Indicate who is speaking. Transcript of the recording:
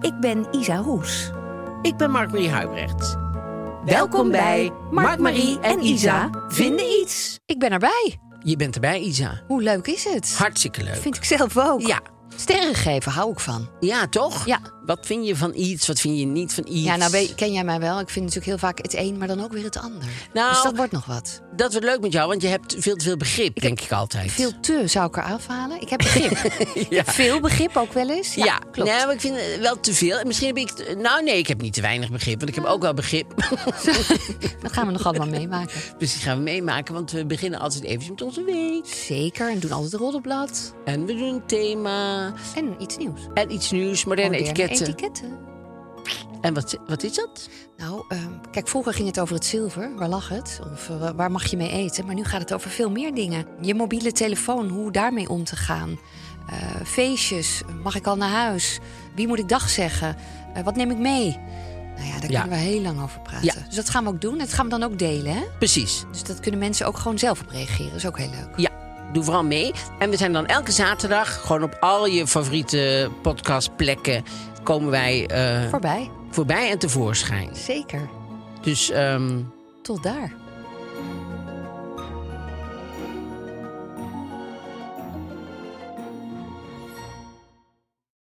Speaker 1: Ik ben Isa Hoes.
Speaker 2: Ik ben Mark-Marie Huibrecht.
Speaker 1: Welkom bij Mark-Marie en Isa vinden
Speaker 2: iets.
Speaker 1: Ik ben erbij.
Speaker 2: Je bent erbij, Isa.
Speaker 1: Hoe leuk is het?
Speaker 2: Hartstikke leuk.
Speaker 1: Vind ik zelf ook.
Speaker 2: Ja.
Speaker 1: Sterren geven, hou ik van.
Speaker 2: Ja, toch?
Speaker 1: Ja.
Speaker 2: Wat vind je van iets, wat vind je niet van iets?
Speaker 1: Ja, nou weet- ken jij mij wel. Ik vind natuurlijk heel vaak het een, maar dan ook weer het ander.
Speaker 2: Nou,
Speaker 1: dus dat wordt nog wat.
Speaker 2: Dat wordt leuk met jou, want je hebt veel te veel begrip, denk ik altijd.
Speaker 1: Veel te zou ik er afhalen. Ik heb begrip. Ik
Speaker 2: Ja.
Speaker 1: heb veel begrip ook wel eens.
Speaker 2: Ja,
Speaker 1: Ja, klopt.
Speaker 2: Nee, maar ik vind het wel te veel. En Misschien heb ik... te- Nou nee, ik heb niet te weinig begrip, want ik heb ook wel begrip.
Speaker 1: Dat gaan we nog allemaal meemaken.
Speaker 2: Dus die gaan we meemaken, want we beginnen altijd even met onze week.
Speaker 1: Zeker. En doen altijd een roddelblad.
Speaker 2: En we doen een thema.
Speaker 1: En iets nieuws.
Speaker 2: En iets nieuws, moderne,
Speaker 1: Moderne
Speaker 2: etiketten.
Speaker 1: etiketten.
Speaker 2: En wat, wat is dat?
Speaker 1: Nou, ehm, kijk, vroeger ging het over het zilver. Waar lag het? Of eh, wa- waar mag je mee eten? Maar nu gaat het over veel meer dingen. Je mobiele telefoon, hoe daarmee om te gaan. Eh, feestjes, mag ik al naar huis? Wie moet ik dag zeggen? Eh, wat neem ik mee? Nou ja, daar
Speaker 2: Ja.
Speaker 1: kunnen we heel lang over praten.
Speaker 2: Ja.
Speaker 1: Dus dat gaan we ook doen. Dat gaan we dan ook delen. Hè?
Speaker 2: Precies.
Speaker 1: Dus dat kunnen mensen ook gewoon zelf op reageren. Dat is ook heel leuk.
Speaker 2: Ja, doe vooral mee. En we zijn dan elke zaterdag gewoon op al je favoriete podcastplekken komen wij eh,
Speaker 1: Voorbij.
Speaker 2: voorbij en tevoorschijn.
Speaker 1: Zeker.
Speaker 2: Dus ehm,
Speaker 1: Tot daar.